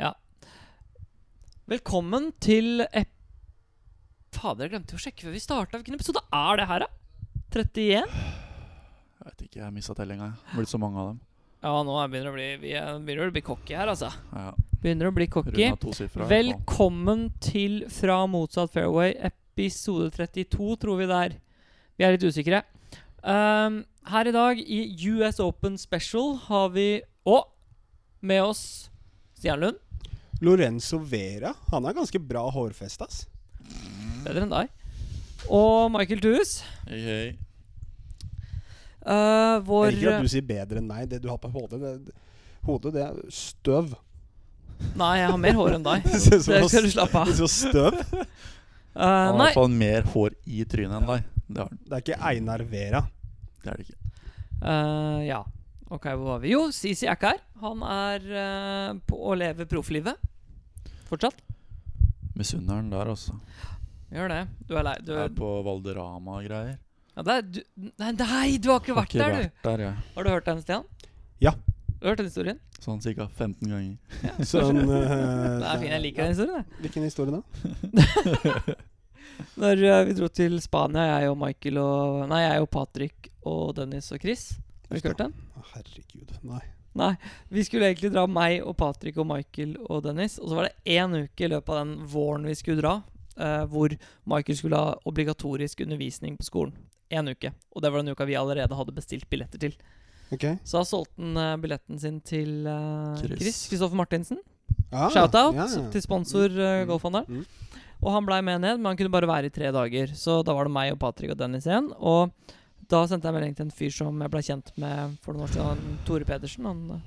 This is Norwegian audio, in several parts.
Ja. Velkommen til ep... Fader, jeg glemte jo å sjekke før vi starta. Hvilken episode er det her, da? 31? Jeg vet ikke, jeg har mista tellinga. jeg. Det har Blitt så mange av dem. Ja, nå er- begynner det å bli, vi er, begynner det å bli cocky her, altså. Ja, Begynner å bli cocky. Runda tosifra. i hvert fall. Velkommen til Fra motsatt fairway, episode 32, tror vi det er. Vi er litt usikre. Um, her i dag i US Open Special har vi Og med oss Stian Lund. Lorenzo Vera. Han har ganske bra hårfest, ass. Bedre enn deg. Og Michael Thues. Hei, hei. Eh, Jeg vår liker at du sier bedre enn meg. Det du har på hodet, det, hodet, det er støv. Nei, jeg har mer hår enn deg. Det ser ut som Det noe skal du slappe av. Det er så støv. Eh, Han har i nei. hvert fall mer hår i trynet enn deg. Det, har han. Det er ikke Einar Vera. det er det ikke. Eh, ja. Ok, hvor var vi? Jo, Sisi er ikke her. Han er eh, på å leve profflivet. Fortsatt. Misunner han der, altså. Gjør det. Du er lei. Du, Er på Valderama og greier. ja, det er, du, nei, nei, du har ikke Har vært ikke der, du! vært der, jeg. Har du hørt den, Stian? Ja. Du har hørt den historien? Sånn ca. 15 ganger. Sånn Det er fin, Jeg liker den historien. jeg. Hvilken historie da? Når eh, vi dro til Spania, jeg og Michael og Nei, jeg og Patrick og Dennis og Chris. Har du ikke hørt den? Å, Herregud, nei. Nei, vi skulle egentlig dra meg og Patrick og Michael og Dennis. Og så var det én uke i løpet av den våren vi skulle dra, eh, hvor Michael skulle ha obligatorisk undervisning på skolen. Én uke. Og det var den uka vi allerede hadde bestilt billetter til. Ok. Så da solgte han eh, billetten sin til eh, Chris. Chris Kristoffer Martinsen. Ah, Shout-out ja, ja. til sponsor uh, Mm, Golfhandelen. mm. Og han blei med ned, men han kunne bare være i tre dager. Så da var det meg og Patrick og Dennis igjen. Og da sendte jeg melding til en fyr som jeg blei kjent med for noen år siden, han Tore Pedersen. Han eh,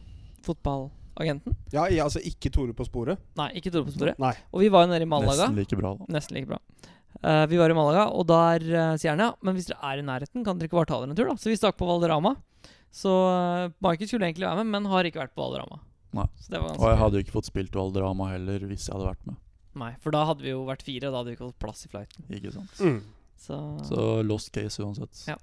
fotballagenten. Ja, ja, altså ikke Tore på sporet. Nei, ikke Tore på sporet. Nei. Og vi var jo nede i Malaga. Nesten like bra, da. Nesten like bra. Eh, vi var i Malaga, og der eh, sier han ja, men hvis dere er i nærheten, kan dere ikke bare ta dere en tur, da? Så vi stakk på Valderama. Så uh, Michael skulle egentlig være med, men har ikke vært på Valderama. Nei. Så det var Og jeg ganske hadde jo ikke fått spilt Valderama heller hvis jeg hadde vært med. Nei, for da hadde vi jo vært fire, og da hadde vi ikke holdt plass i flighten. Ikke sant? Mm. Så, Så lost case uansett. Ja.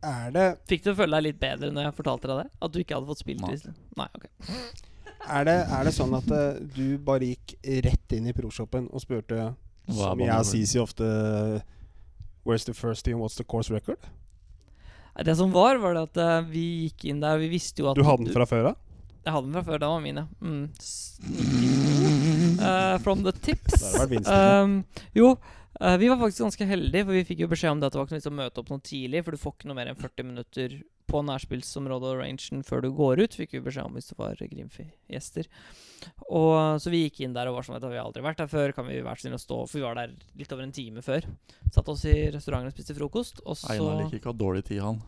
Er, det, fikk du føle deg litt bedre når jeg fortalte deg det? At du ikke hadde fått spilt? Nei. Nei. Nei, ok. er, det, er det sånn at eh, du bare gikk rett inn i proshoppen og spurte, Hva er som banen jeg og for? Sisi ofte Where's the first team, what's the course record? Nei, Det som var, var det at eh, vi gikk inn der, og vi visste jo at Du hadde den fra før av? Jeg hadde den fra før. Den var min, ja. Mm. Sneaky. Eh, from the tips. Der har det vært vindstille. um, jo, eh, vi var faktisk ganske heldige, for vi fikk jo beskjed om det at det var ikke noe vits å møte opp noe tidlig, for du får ikke noe mer enn 40 minutter på nærspillsområdet og rangen før du går ut, fikk vi beskjed om hvis det var Grimfi-gjester. Og eh, Så vi gikk inn der og var sånn at vi har aldri vært her før, kan vi være så snille å stå For vi var der litt over en time før. Satt oss i restauranten og spiste frokost, og så Einar liker ikke å ha dårlig tid, han.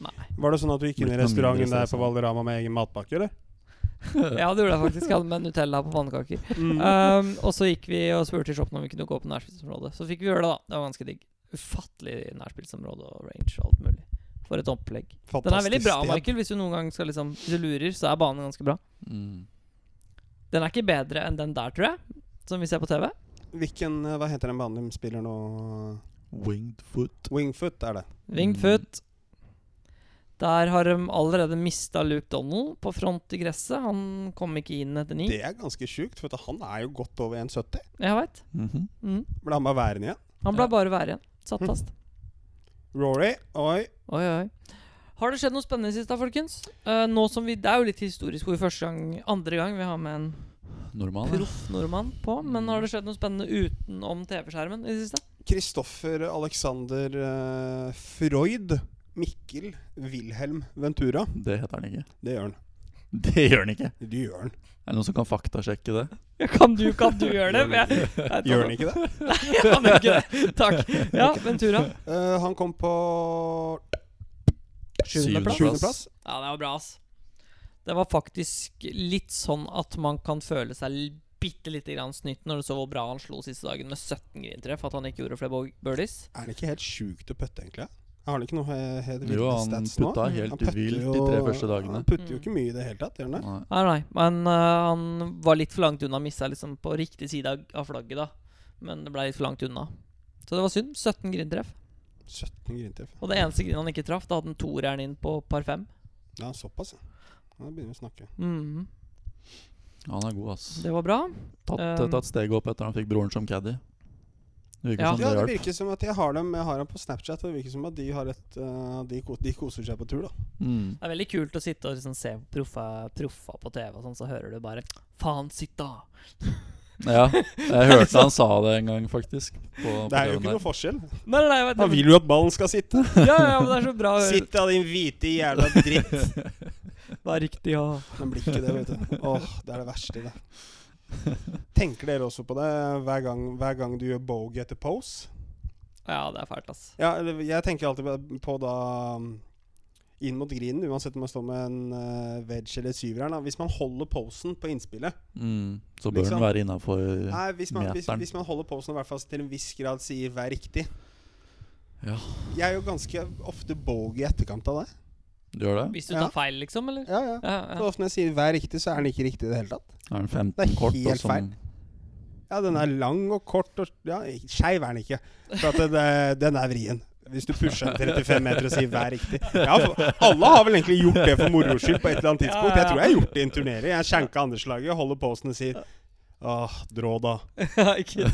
Nei. Var det sånn at du gikk inn i Blitt noe restauranten mindre der på stressende. Valderama med egen matpakke, eller? Ja, det gjorde jeg faktisk. Jeg hadde med Nutella på pannekaker. Um, og så gikk vi og spurte i shoppen om vi kunne gå på nærspillsområdet. Så fikk vi gjøre det, da. Det var ganske digg. Ufattelig nærspillsområde og range og alt mulig. For et opplegg. Den er veldig bra, Michael. Hvis du noen gang skal liksom Hvis du lurer, så er banen ganske bra. Mm. Den er ikke bedre enn den der, tror jeg. Som vi ser på TV. Hvilken, eh, hva heter den banen de spiller nå? Winged foot. Wingfoot er det. Winged Mm. foot. Der har de allerede mista Luke Donald på front i gresset. Han kom ikke inn etter ni. Det er ganske sjukt, for at han er jo godt over 1,70. Jeg veit. Mhm. Mm. Ble han bare værende igjen? Han ble Ja. bare værende igjen. Satt Mm. fast. Rory, oi. Oi, oi. Har det skjedd noe spennende sist, da, folkens? Eh, nå som vi, Det er jo litt historisk hvor vi første gang, andre gang vi har med en Nordmann, ja. proff nordmann på. Men har det skjedd noe spennende utenom TV-skjermen i det siste? Kristoffer Alexander eh, Freud. Mikkel Wilhelm Ventura. Det heter han ikke. Det gjør han. Det gjør han ikke. Det gjør han. Er det noen som kan faktasjekke det? Ja, kan du, kan du gjøre det? For jeg, jeg Gjør han ikke det? Jeg kan jo ikke det. Takk. Ja, Ventura. Eh, han kom på Sjuendeplass. Sjuende. sjuendeplass. Ja, det var bra, ass. Det var faktisk litt sånn at man kan føle seg bitte lite grann snytt når du så hvor bra han slo siste dagen med 17 grintreff, at han ikke gjorde flere bo- birdies. Er det ikke helt sjukt å putte, egentlig? Har han ikke noe he- helt Jo, ville han stats nå? putta helt vilt de tre første dagene. Han putter jo ikke mye i det hele tatt, gjør han det? Nei. Nei, nei, men øh, han var litt for langt unna. Missa liksom på riktig side av- av flagget, da. Men det ble litt for langt unna. Så det var synd. 17 grindtreff. 17 grintreff. Og det eneste grinet han ikke traff, da hadde han toeren inn på par fem. Mm. Ja, såpass, ja. Da begynner vi å snakke. Mhm. Han er god, ass. Det var bra. Tatt, Um, tatt steget opp etter han fikk broren som caddy. Det virker Ja. som Ja, det det hjalp. virker som at jeg har dem Jeg har dem på Snapchat, og det virker som at de har et eh, de, ko de koser seg på tur, da. Mm. Det er veldig kult å sitte og liksom se proffa, proffa på TV, og sånn, så hører du bare Faen, sitt da! Ja, jeg hørte han sa det en gang, faktisk. På, på Det er jo TV-en ikke der. noe forskjell. Nei, nei, nei, Da vet vil du at ballen skal sitte. Ja, ja, men det er så bra å høre. Sitt da, din hvite jævla dritt. Det er riktig, ja. Men blir ikke det, vet du. Åh, det er det verste i det. Tenker dere også på det hver gang, hver gang du gjør bogey etter pose? Ja, det er fælt, ass. Ja, eller jeg tenker alltid på da mm, inn mot grinen, uansett om man står med en eh, veg eller syveren. Da. Hvis man holder posen på innspillet Mm. Så bør Liksom. han være innafor Nei, hvis man, hvis, meteren. hvis man holder posen og i hvert fall til en viss grad sier 'vær riktig' Ja, Jeg er jo ganske ofte bogey i etterkant av det. du gjør det? Hvis du Ja. tar feil, liksom, eller? Ja, ja. Ja, ja. Så ofte når jeg sier 'vær riktig', så er den ikke riktig i det hele tatt. Er den Det 15 er kort? og helt sånn- feil. Ja, den er lang og kort og Ja, skeiv er den ikke. For at det, den er vrien. Hvis du pusher den 35 meter og sier 'vær riktig'. Ja, for alle har vel egentlig gjort det for moro skyld på et eller annet tidspunkt. Jeg tror jeg har gjort det i en turnering. Jeg skjenka andreslaget, holder posen og sier Åh, drå da. ja, ikke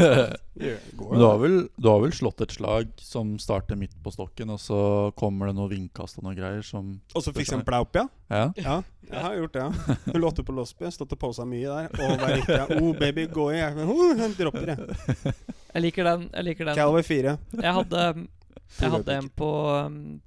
Det går Men du jo. har, vel, du har vel slått et slag som starter midt på stokken, og så kommer det noe vindkast og noe greier som Og så fikser han plau opp, ja. Ja? Ja, jeg har gjort det. ja 08 på Låsby. Stått og posa mye der. Og vær riktig. ja. Oh, baby, gå i. Jeg- Oh, den dropper, jeg. Jeg liker den. Jeg liker den. Calvary 4. Jeg hadde, jeg hadde en Ikke. på um,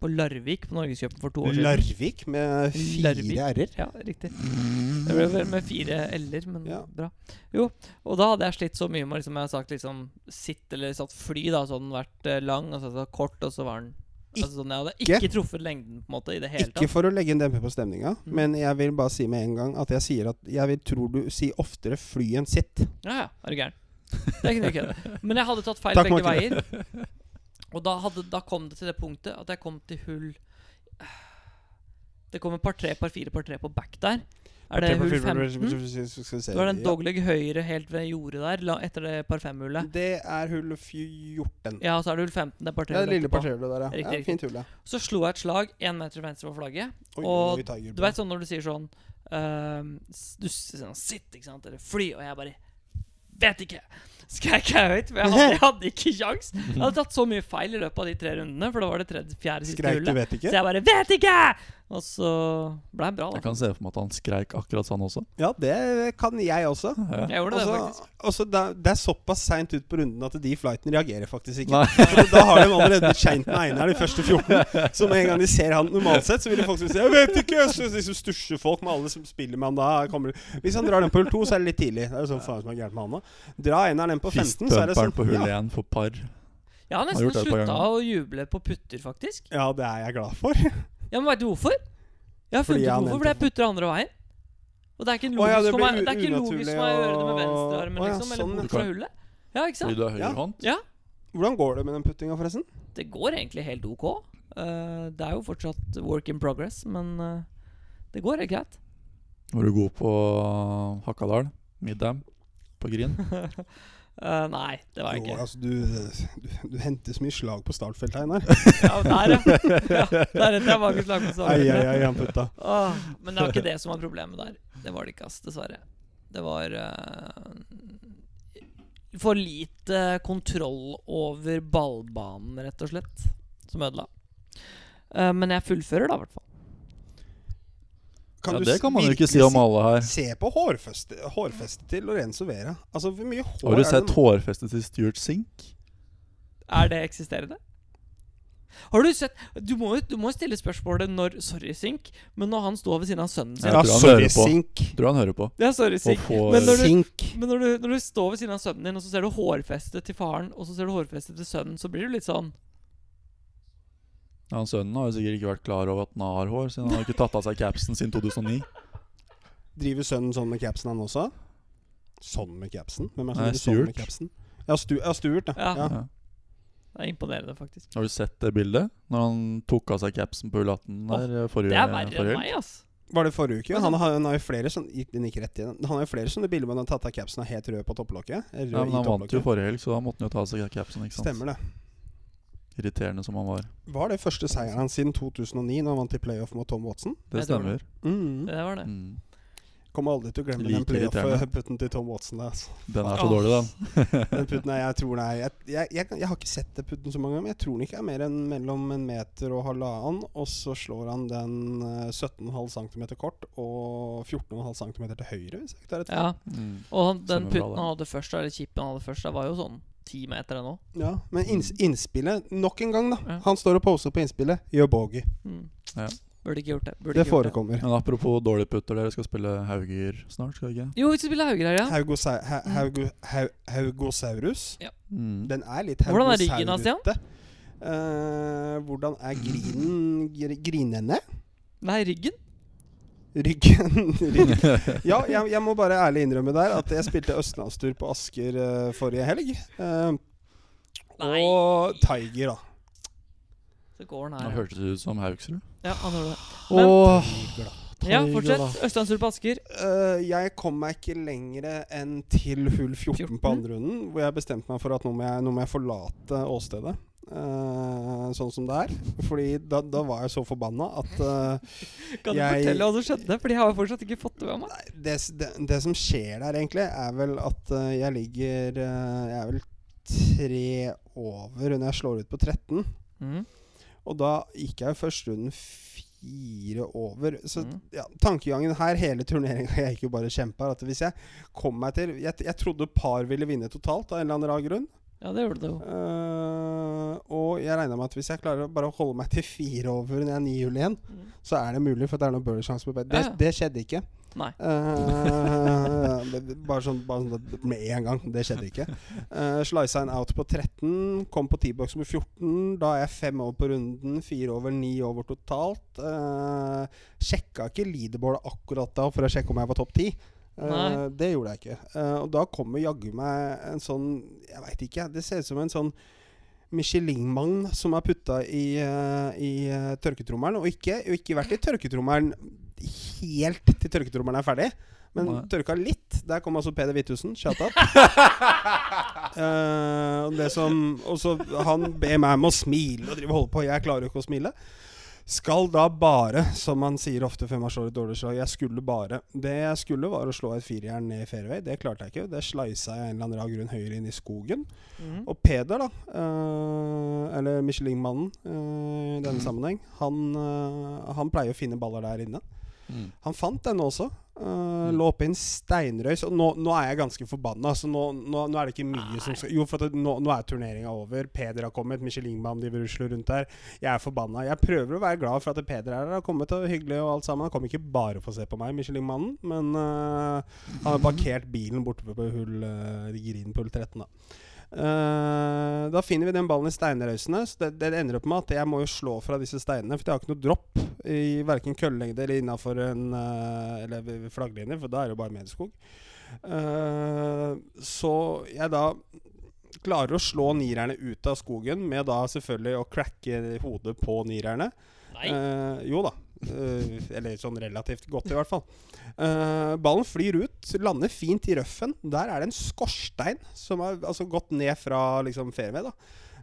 På Larvik på Norgescupen for to år siden. Larvik med Larvik. fire r-er. Ja, riktig. Det ble vel med fire l-er, men Ja. bra. Jo, og da hadde jeg slitt så mye med liksom, Jeg hadde sagt liksom sitt eller satt fly, da, så hadde den vært eh, lang, og så hadde den vært kort, og så var den altså, sånn, Jeg hadde Ikke- ikke truffet lengden på en måte i det hele Ikke tatt. for å legge en demper på Mm. stemninga, men jeg vil bare si med en gang at jeg sier at jeg vil tror du sier oftere 'fly' enn 'sitt'. Ja, ja, er du gæren. Det kunne ikke hende. Men jeg hadde tatt feil Takk, begge Martin. veier. Og da, hadde, da kom det til det punktet at jeg kom til hull Det kommer par tre, par fire, par tre på back der. Er det hull 15? Det var den dogleg høyre helt ved jordet der, la, etter det par fem-hullet. Det er hull 14. Ja, og så er det hull 15, det er par Det er tre. det lille etterpå. partiet der, ja. Riktig, ja riktig. fint hull, ja. Så slo jeg et slag én meter venstre for flagget. Oi, Og oi, Tiger Du Bro. veit sånn når du sier sånn ehm, s- Du sier sånn Sitt, ikke sant, eller fly, og jeg bare Vet ikke! Skrek jeg høyt, for jeg hadde, jeg hadde ikke kjangs. Jeg hadde tatt så mye feil i løpet av de tre rundene, for da var det tredje, fjerde siste Skreik du hullet. 'vet Så ikke'? jeg bare Vet ikke! Og så ble jeg bra, da. Jeg kan se for meg at han skreik akkurat sånn også. Ja, det kan jeg også. Ja. Jeg gjorde det, Også, faktisk. også Altså, det, det er såpass seint ut på runden at de flightene reagerer faktisk ikke. Nei. For da har de allerede blitt kjent med Einar de første 14. Så med en gang de ser han normalt sett, så vil de faktisk si 'Jeg vet ikke!' Så liksom stusjer folk med alle som spiller med han da. Kommer. Hvis han drar den på hull 2, så er det litt tidlig. Det er jo sånn faen som er gærent med han da. Dra Einar den på 15, så er Fistbumperen det sånn på hull ja, 1 for par. Jeg har gjort nesten det et par slutta ganger. å juble på putter, faktisk. ja, det er jeg glad for. Ja, men veit du hvorfor? Jeg har Fordi funnet ut jeg har hvorfor, nevnt fordi jeg det. putter andre veien. Og det er ikke en Å ja, logisk det for blir meg Det er ikke en unaturlig logisk for meg å gjøre det med å- venstrearmen, Å ja, liksom, eller sånn, ja. bort fra hullet. Ja, ikke sant? Fordi du har Ja. høyrehånd? Hvordan går det med den puttinga, forresten? Det går egentlig helt ok. Eh, det er jo fortsatt work in progress, men eh, det går helt greit. Var du god på Hakadal? Middam? På Green? Eh, nei, det var jeg Jo, ikke. altså, du, du, du henter så mye slag på startfeltet, Einar. Ja, der, ja. ja der heter jeg Magnus Langmo Ai, ai, Sagen. ai, han putta. Åh, Men det var ikke det som var problemet der. Det var det ikke, ass, dessverre. Det var eh, for lite kontroll over ballbanen, rett og slett, som ødela. Eh, men jeg fullfører, da, i hvert fall. Ja, du det s- kan man jo ikke virkelig si om alle her. Se på hårfeste, hårfestet til Lorenzo Vera. Altså, hvor mye hår Har du er sett det- hårfestet til Stuart Sink? Er det eksisterende? Har du sett Du må jo du må jo stille spørsmålet når Sorry, Sink, men når han står ved siden av sønnen sin Ja. ja. Ja, tror han sorry, hører på. sink. Tror han hører på. Det er Sorry, Og Sink. får Men når du- Sink. Men når du, når du står ved siden av sønnen din, og så ser du hårfestet til faren, og så ser du hårfestet til sønnen, så blir du litt sånn ja, han Sønnen har jo sikkert ikke vært klar over at han har hår, siden han har ikke tatt av seg capsen siden 2009. Driver sønnen sånn med capsen, han også? Sånn med capsen? Hvem er det som Nei, driver sånn med Stuart. capsen? Ja, Stu, ja Stuart, ja. Ja. ja. Ja. Det er imponerende, faktisk. Har du sett det bildet? Når han tok av seg capsen på hull 18 der eh, forrige Det er verre forrige enn helg? meg, ass. Var det forrige uke? Men Han har, han har jo flere sånn gikk Den gikk rett i den. Han har jo flere sånne bilder hvor han har tatt av capsen og er helt rød på topplokket. Rød Ja, men han i vant jo topplokket. forrige helg, så da måtte han jo ta av seg capsen. ikke sant? Stemmer det. Irriterende som han var. Var det første seieren hans siden 2009, når han vant i playoff mot Tom Watson? Jeg Det tror stemmer. Mm. Det var det. Mm. Kommer aldri til å glemme den Like irriterende. playoff-putten til Tom Watson. der, Altså. Den er så dårlig, den. Den putten er, jeg tror den er jeg, jeg, jeg, kan- jeg har ikke sett den putten så mange ganger, men jeg tror den ikke er mer enn mellom en meter og halvannen. Og så slår han den eh, 17,5 cm kort og 14,5 cm til høyre, hvis jeg ikke tar rett. Ja, Mm. og han, den Stemmer bra, putten det. han hadde først, eller chipen han hadde først, da, var jo sånn ti meter ennå. Ja, men inns, innspillet Nok en gang, da. Ja. Han står og poser på innspillet. Gjør bogey. Mm. Ja. Burde ikke gjort det. Burde Det ikke gjort det. forekommer. Men apropos dårlige putter, dere skal spille Hauger snart, skal dere ikke? Jo, vi skal spille Hauger her, ja. Mm. Haugosau- ha- haugo- hau- Haugosaurus. Mm. Den er litt Hvordan er ryggen hans, Stian? haugosaurete. Eh, hvordan er grinen gr Grinene? Nei, ryggen. Ryggen, ryggen. Ja, jeg, jeg må bare ærlig innrømme der at jeg spilte østlandstur på Asker eh, forrige helg. Eh, Nei. og Tiger, da. Så går han Nå her. hørtes det ut som Haugsrud. Ja, han gjorde det. Men- Åh, Tiger, da. Ja, Tiger, fortsett. da. Østlandstur på Asker. Eh, jeg kom meg ikke lenger enn til hull 14, 14? på andre runden, hvor jeg bestemte meg for at nå må jeg, nå må jeg forlate åstedet. eh, sånn som det er. Fordi da, da var jeg så forbanna at eh, Kan du Jeg- fortelle hva som skjedde? Fordi jeg har jo fortsatt ikke fått det med meg. det, s- det, det som skjer der, egentlig, er vel at eh, jeg ligger eh, Jeg er vel tre over når jeg slår ut på 13. Mm. Og da gikk jeg jo første runden fire over. Så Mm. ja, tankegangen her hele turneringa jeg gikk jo bare kjempa, at hvis jeg kom meg til Jeg, jeg trodde par ville vinne totalt av en eller annen rar grunn. Ja, det gjorde det jo. Eh, og jeg regna med at hvis jeg klarer å bare holde meg til fire over når jeg er ni hull igjen, Mm. så er det mulig, for det er noen birdiesjanse på bed. Det, Ja, ja. det skjedde ikke. Nei. Eh, men bare sånn, bare sånn at- med en gang. Det skjedde ikke. Uh, Slisa en out på 13, kom på T-box med 14. Da er jeg fem over på runden, fire over, ni over totalt. Uh, sjekka ikke leaderboardet akkurat da for å sjekke om jeg var topp ti. Eh, Nei. det gjorde jeg ikke. Eh, og da kommer jaggu meg en sånn Jeg veit ikke, det ser ut som en sånn Michelin-magn som er putta i, eh, i eh, tørketrommelen, og ikke, og ikke vært i tørketrommelen helt til tørketrommelen er ferdig. Men Nei. tørka litt. Der kom altså Peder Hvithusen. Shout out. Eh, og det som Og så han ber meg om å smile og drive og holde på. Jeg klarer jo ikke å smile. Skal da bare, som man sier ofte før man slår et dårlig slag Jeg skulle bare. Det jeg skulle, var å slå et firejern ned i fairway. Det klarte jeg ikke. Det slisa jeg en eller annen rar grunn høyere inn i skogen. Mm. Og Peder, da, eh, eller Michelin-mannen eh, i denne sammenheng, han, eh, han pleier å finne baller der inne. Mm. Han fant denne også. eh, Lå oppe i en steinrøys. Og nå, nå er jeg ganske forbanna. Så nå, nå, nå er det ikke mye som skal Jo, for at det, nå, nå er turneringa over. Peder har kommet. Michelin-mannen driver og rusler rundt der. Jeg er forbanna. Jeg prøver å være glad for at Peder er her. Har kommet og hyggelig og alt sammen. Han kom ikke bare for å se på meg, Michelin-mannen, men eh, han har parkert bilen borte på hull uh, grinen på hull 13, da. Eh, da finner vi den ballen i steinrøysene. Så det, det ender opp med at jeg må jo slå fra disse steinene, for jeg har ikke noe dropp i verken køllelengde eller innafor en eh, Eller ved- ved flagglinjer, for da er det jo bare medieskog. Eh, så jeg da klarer å slå nirerne ut av skogen med da selvfølgelig å cracke hodet på nirerne. Nei. Eh, jo da. Eh, eller sånn relativt godt, i hvert fall. Eh, ballen flyr ut, lander fint i røffen. Der er det en skorstein som har altså, gått ned fra liksom, fairway, da.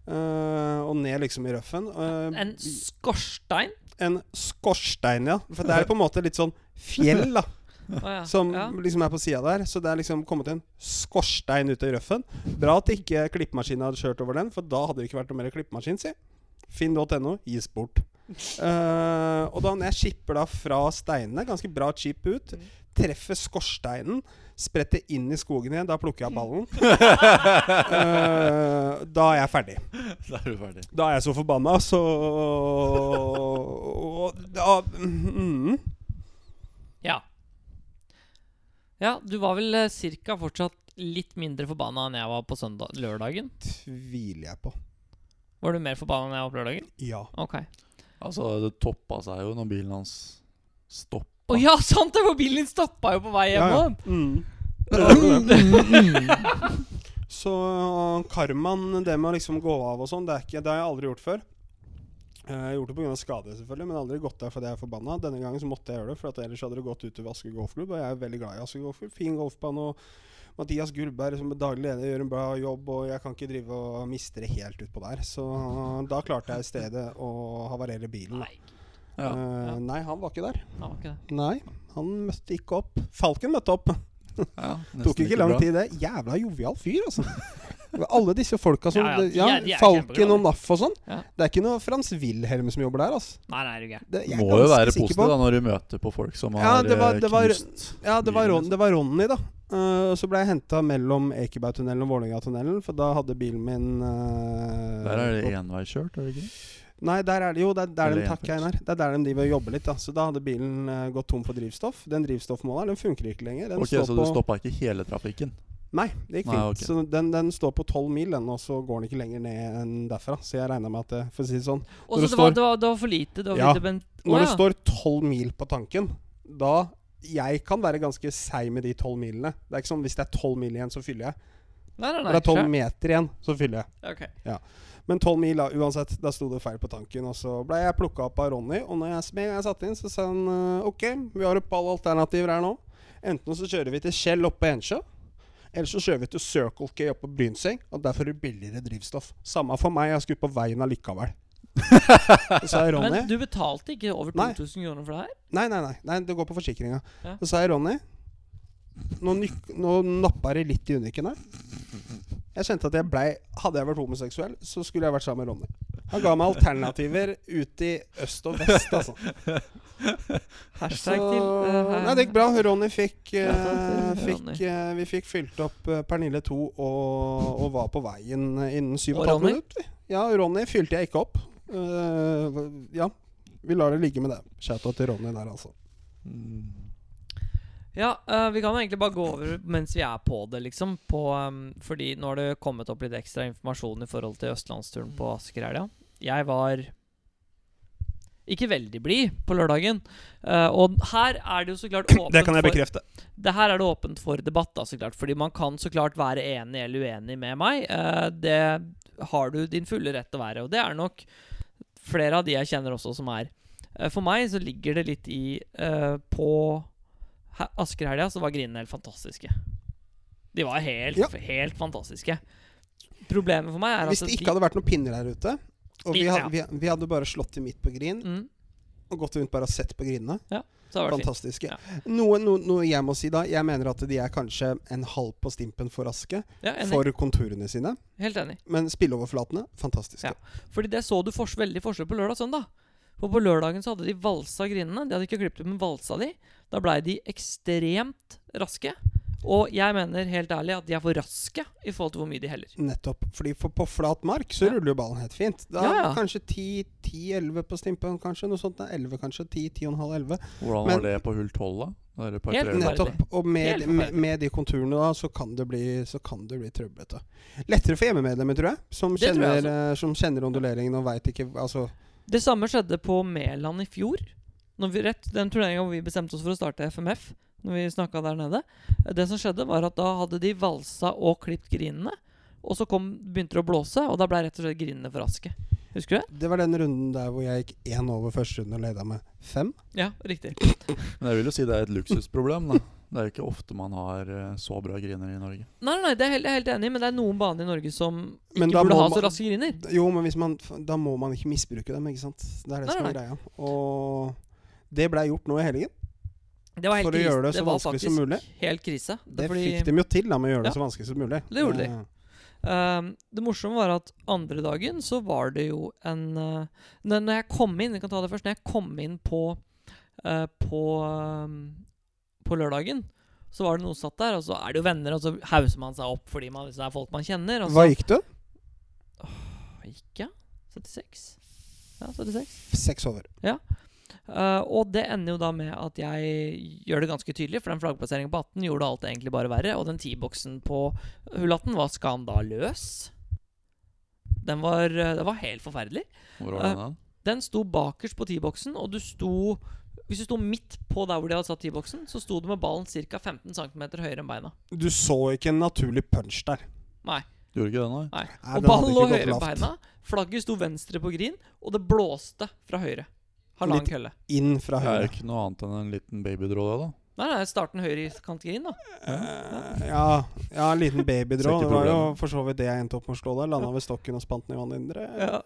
Eh, og ned liksom i røffen. Eh, En skorstein? en skorstein, ja. For det er på en måte litt sånn fjell, da. Å ja. Som ja. liksom er på sida der. Så det er liksom kommet en skorstein ut i røffen. Bra at ikke klippemaskinen hadde kjørt over den, for da hadde det ikke vært noe mer klippemaskin, si. Finn.no gis bort. Eh, og da når jeg skipper da fra steinene, ganske bra chip ut, Mm. treffer skorsteinen, spretter inn i skogen igjen, da plukker jeg ballen. Eh, da er jeg ferdig. Da er du ferdig. Da er jeg så forbanna, så og da, mm, ja. Ja, du var vel eh, cirka fortsatt litt mindre forbanna enn jeg var på søndag lørdagen? Tviler jeg på. Var du mer forbanna enn jeg var på lørdagen? Ja. Ok. Altså, det toppa seg jo når bilen hans stoppa. Å ja, sant det! For bilen din stoppa jo på vei hjem Ja, ja. òg. Mm. Så eh, karmaen, det med å liksom gå av og sånn, det, er ikke- det har jeg aldri gjort før. Eh, Jeg gjorde det pga. skade, selvfølgelig, men aldri gått der fordi jeg er forbanna. Denne gangen så måtte jeg gjøre det, for at ellers hadde det gått utover Asker golfklubb. Og jeg er veldig glad i Asker golfklubb. Fin golfbane. og Mathias Gullberg som er daglig leder gjør en bra jobb, og jeg kan ikke drive eh, og miste det helt utpå der. Så da klarte jeg i stedet å havarere bilen. da. Nei. Ja. Eh, Ja. Nei, han var ikke der. Han var ikke det. Nei, han møtte ikke opp. Falken møtte opp. Ja, nesten Tok ikke lang bra. tid, det. Jævla jovial fyr, altså. Alle disse folka som Ja, ja, de ja, er- de er Falken kjempeglade. og NAF og sånn. Ja. Det er ikke noe Frans Wilhelm som jobber der, altså. Nei, nei, er du gæren. Det, jeg er Må jo ganske være sikker positiv på. da når du møter på folk som Ja, har det var- eh, det var- knust Ja, det var, altså. bilen Ron, det var Ronny, da. Eh, og så ble jeg henta mellom Ekebergtunnelen og Vålerengatunnelen, for da hadde bilen min eh, Der er det gått- enveiskjørt, er det ikke? Nei, der er det jo. Det er der Eller de takker enfelts. Einar. Det er der de driver og jobber litt. Da. Så da hadde bilen eh, gått tom for drivstoff. Den drivstoffmåleren den funker ikke lenger. Den Ok, står Så på du stoppa ikke hele trafikken? Nei, det gikk fint. Nei, ok. Så den, den står på 12 mil, den, og så går den ikke lenger ned enn derfra. Så jeg regner med at det, For å si det sånn, Og Når så det, det var- står- det, var- det var for lite. Det var Ja. lite bent... Å, når ja. det står 12 mil på tanken, da Jeg kan være ganske seig med de 12 milene. Det er ikke sånn hvis det er 12 mil igjen, så fyller jeg. Nei, nei, Når nei. det er 12 skjønner. meter igjen, så fyller jeg. Ja, ok. Men 12 mil, da, uansett. Da sto det feil på tanken. Og så ble jeg plukka opp av Ronny, og når jeg, med en gang jeg satt inn, så sa han eh, OK, vi har et par alternativer her nå. Enten så kjører vi til Kjell oppe på Ensjø, eller så kjører vi til Circle K oppe på Brynseng, og der får du billigere drivstoff. Samme for meg, jeg skulle på veien allikevel. Så sa jeg Ronny Men du betalte ikke over Nei. 2000 kroner for det her? Nei, nei, nei, nei, det går på forsikringa. Ja. Så sa jeg Ronny Nå, nyk- nå nappa det litt i unikken her. Jeg kjente at jeg blei Hadde jeg vært homoseksuell, så skulle jeg vært sammen med Ronny. Han ga meg alternativer ut i øst og vest, altså. Så, Hashtag til eh, her- nei, det gikk bra. Ronny fikk, eh, Ja, takk til fikk Ronny. eh, Vi fikk fylt opp eh, Pernille 2 og, og var på veien eh, innen Og 7,5 Ronny? minutter. Ja, Ronny fylte jeg ikke opp. Eh, ja. Vi lar det ligge med det. Shout-out til Ronny der, altså. Mm. Ja, eh, vi kan jo egentlig bare gå over mens vi er på det, liksom. På, em, fordi nå har det kommet opp litt ekstra informasjon i forhold til østlandsturen på Asker i helga. Jeg var ikke veldig blid på lørdagen. Eh, og her er det jo så klart åpent for bekrefte. det her er det åpent for debatt, da, så klart. Fordi man kan så klart være enig eller uenig med meg. Eh, det har du din fulle rett til å være, og det er nok flere av de jeg kjenner også som er. Eh, for meg så ligger det litt i eh, På he- Askerhelga så var grinene helt fantastiske. De var helt, Ja. helt fantastiske. Problemet for meg er at Hvis det ikke hadde vært noen pinner her ute, og vi, Ja. hadde, vi, vi hadde bare slått til midt på grin mm, og gått rundt bare og sett på grinene Så hadde det vært fint. Fantastiske. Ja. Noe, noe, noe jeg må si da, jeg mener at de er kanskje en halv på stimpen for Aske. Ja, enig. For konturene sine. Helt enig. Men spilleoverflatene, fantastiske. Ja. Fordi det så du fors veldig forskjell på lørdag og søndag. For på lørdagen så hadde de valsa grinene. De hadde ikke klippet ut, men valsa de. Da blei de ekstremt raske. Og jeg mener helt ærlig at de er for raske i forhold til hvor mye de heller. Nettopp. Fordi for på flat mark så Ja. ruller jo ballen helt fint. Da Ja, ja. kanskje 10-11 på stimpen, kanskje. Noe sånt. 11, kanskje. 10-10,5-11. Hvordan Men- var det på hull 12, da? Det der Helt parkeringen der? forferdelig. Nettopp. Og med, Helt med, forferdelig. med de konturene da, så kan det bli, så kan det bli trøblete. Lettere for hjemmemedlemmer, tror jeg. Som Det tror kjenner, jeg eh, som kjenner onduleringen og veit ikke Altså, Det samme skjedde på Mæland i fjor. Når vi, rett, den turneringa hvor vi bestemte oss for å starte FMF. Når vi snakket der nede Det som skjedde, var at da hadde de valsa og klippet grinene. Og så kom, begynte det å blåse, og da blei rett og slett grinene for raske. Husker du det? det var den runden der hvor jeg gikk én over første runde og leda med fem. Ja, riktig. Men jeg vil jo si det er et luksusproblem, da. Det er jo ikke ofte man har eh, så bra griner i Norge. Nei, nei, nei, det er helt, jeg er helt enig, men det er noen baner i Norge som ikke Men da burde må ha man- så raske griner. D- Jo, men hvis man, f- da må man ikke misbruke dem, ikke sant? Det er det Nei, som nei, er greia. Og det blei gjort nå i helgen. Det var helt For å krise. gjøre det så var vanskelig som faktisk mulig. Helt krise. Det, Det er fordi, fikk dem jo til da med å gjøre det Ja. så vanskelig som mulig. Det gjorde de. Eh, Ehm, det morsomme var at andre dagen så var det jo en eh, når, når jeg kom inn, jeg kan ta det først Når jeg kom inn på eh, på, ehm, på lørdagen, så var det noen satt der, og så er det jo venner, og så hauser man seg opp fordi man, hvis det er folk man kjenner. Og så Hva gikk du? gikk jeg? 76? Ja, 76. Seks over. Eh, og det ender jo da med at jeg gjør det ganske tydelig, for den flaggplasseringen på 18 gjorde alt egentlig bare verre, og den T-boksen på hull 18 var skandaløs. Den var, eh, den var helt forferdelig. Hvor var den? da? Den sto bakerst på T-boksen, og du sto Hvis du sto midt på der hvor de hadde satt T-boksen, så sto du med ballen ca. 15 cm høyere enn beina. Du så ikke en naturlig punch der. Du gjorde ikke det, nei? Nei. Nei, Og den hadde ballen ikke lå gått høyere enn lavt. beina. Flagget sto venstre på green, og det blåste fra høyre. Halvannen Litt- kølle. Inn fra Det er høyre. jo ikke noe annet enn en liten babydråd, da. Nei, nei, starten høyre i kant green, da. Eh, ja, ja, en Ser liten babydrå. ikke Det var jo problemet. for så vidt det jeg endte opp med å slå der. Landa ved stokken og spant den i vannet indre. Ja.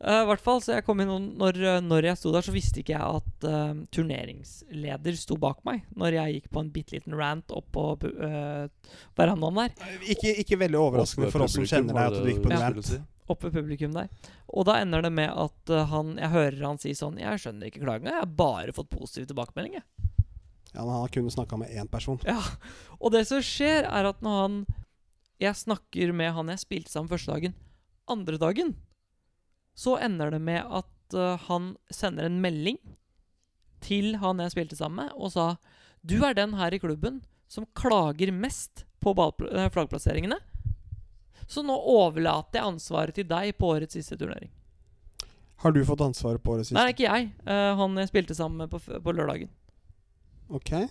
Eh, I hvert fall, så jeg kom inn og når, eh, når jeg sto der, så visste ikke jeg at eh, turneringsleder sto bak meg når jeg gikk på en bitte liten rant opp på eh, verandaen der. Ikke, ikke veldig overraskende for oss som kjenner deg, at du gikk på en Ja. rant. Oppe i publikum der. Og da ender det med at eh, han, jeg hører han si sånn Jeg skjønner ikke klaginga, jeg har bare fått positive tilbakemeldinger. Ja, men han har kun snakka med én person. Ja, og det som skjer er at når han Jeg snakker med han jeg spilte sammen første dagen Andre dagen Så ender det med at eh, han sender en melding Til han jeg spilte sammen med Og sa Du er den her i klubben som klager mest På ballpl- eh, flaggplasseringene Så nå overlater jeg ansvaret til deg På årets siste turnering Har du fått ansvaret på det Nei, siste? ikke jeg eh, Han jeg spilte sammen med på, f- på lørdagen Ok. Jeg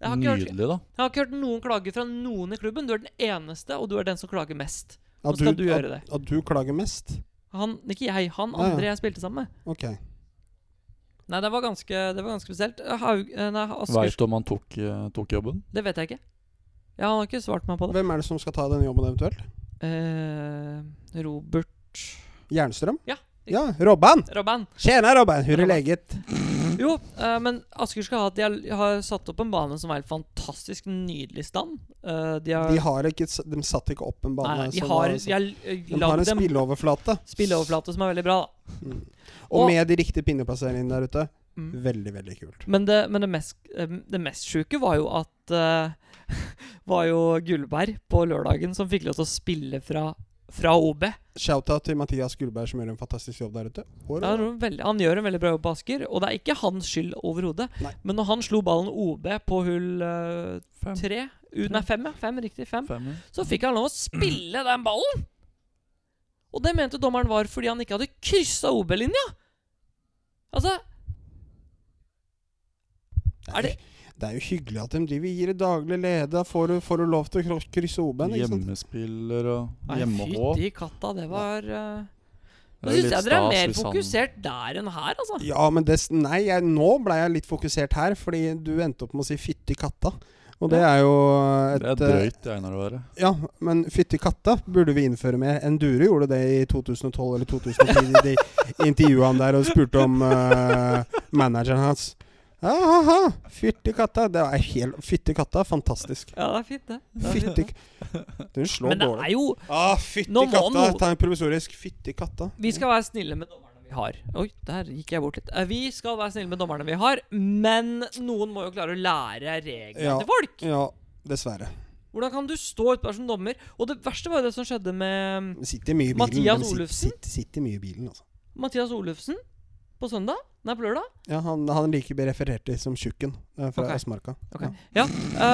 har ikke hørt- Nydelig, da. Jeg har ikke hørt noen klage fra noen i klubben. Du er den eneste, og du er den som klager mest. Nå At skal du gjøre det. At, at du klager mest? Han, ikke jeg, han Ja, ja. andre jeg spilte sammen med. Ok. Nei, det var ganske, det var ganske spesielt. Haug, eh, nei, Asker, Veit du om han tok, eh, tok jobben? det vet jeg ikke. Ja, han har ikke svart meg på det. Hvem er det som skal ta den jobben eventuelt? Eh, Robert Jernstrøm? Ja. Ja, Robban! Robban. Tjena, Robban! Hurre Robban. leget. Jo, eh, men Asker skal ha at de har, har satt opp en bane som er i fantastisk nydelig stand. Eh, de har, De har ikke s- De satt ikke opp en bane. nei, de som har, var- de har eh, de har en lagd en spilleoverflate. spilleoverflate som er veldig bra. da. Mm. Og Og- med de riktige pinneplasseringene der ute. Mm. Veldig, veldig kult. Men det, men det mest, eh, det mest sjuke var jo at eh, Var jo Gullberg på lørdagen som fikk lov til å spille fra, fra OB. Shout-out til Mathias Gullberg, som gjør en fantastisk jobb der ute. Hvor- Han, gjorde en veldig, han gjør en veldig bra jobb på Asker, og det er ikke hans skyld overhodet. Nei. Men når han slo ballen OB på hull eh, Fem. tre ut, Nei, fem, ja. Fem, riktig. Fem. Fem, ja. Så fikk han lov å spille den ballen! Og det mente dommeren var fordi han ikke hadde kryssa OB-linja! Altså, er det- Det er jo hyggelig at de driver gir det daglig lede. Da får du, får du lov til å kro- krysse OB-en. ikke sant? Hjemmespiller og Nei, hjemmehåp. fytti katta, det var eh, Det Nå er jo syns litt jeg dere er stas mer hvis han- fokusert der enn her, altså. Ja, men det, s- nei, jeg, nå ble jeg litt fokusert her, fordi du endte opp med å si 'fytti katta'. Og det er jo et Det er eh, drøyt, det egner å være. Ja, men 'fytti katta' burde vi innføre mer. Endure gjorde det i 2012 eller 2010. De intervjua han der og spurte om eh, manageren hans. Ja, Aha, fytti katta. Det er helt Fytti katta, fantastisk. Ja, det er fint, det. det, er Fytti fint, Du det. slår Men det dårlig. er jo Ah, fytti Nå må katta. noe- Ta en provisorisk. Fytti katta. Vi skal være snille med dommerne vi har. Oi, der gikk jeg bort litt. Eh, Vi skal være snille med dommerne vi har, men noen må jo klare å lære reglene Ja. til folk. Ja, dessverre. Hvordan kan du stå utpå som dommer? Og det verste var jo det som skjedde med mm, Men Sitter mye i bilen. Mathias men sit- Olufsen? sit- Sitter mye i bilen, altså. Mathias Olufsen på søndag. Nei, på lørdag. Ja, han, han liker å bli referert til som Tjukken eh, fra Ok. Østmarka. Ok. Ja. Ja,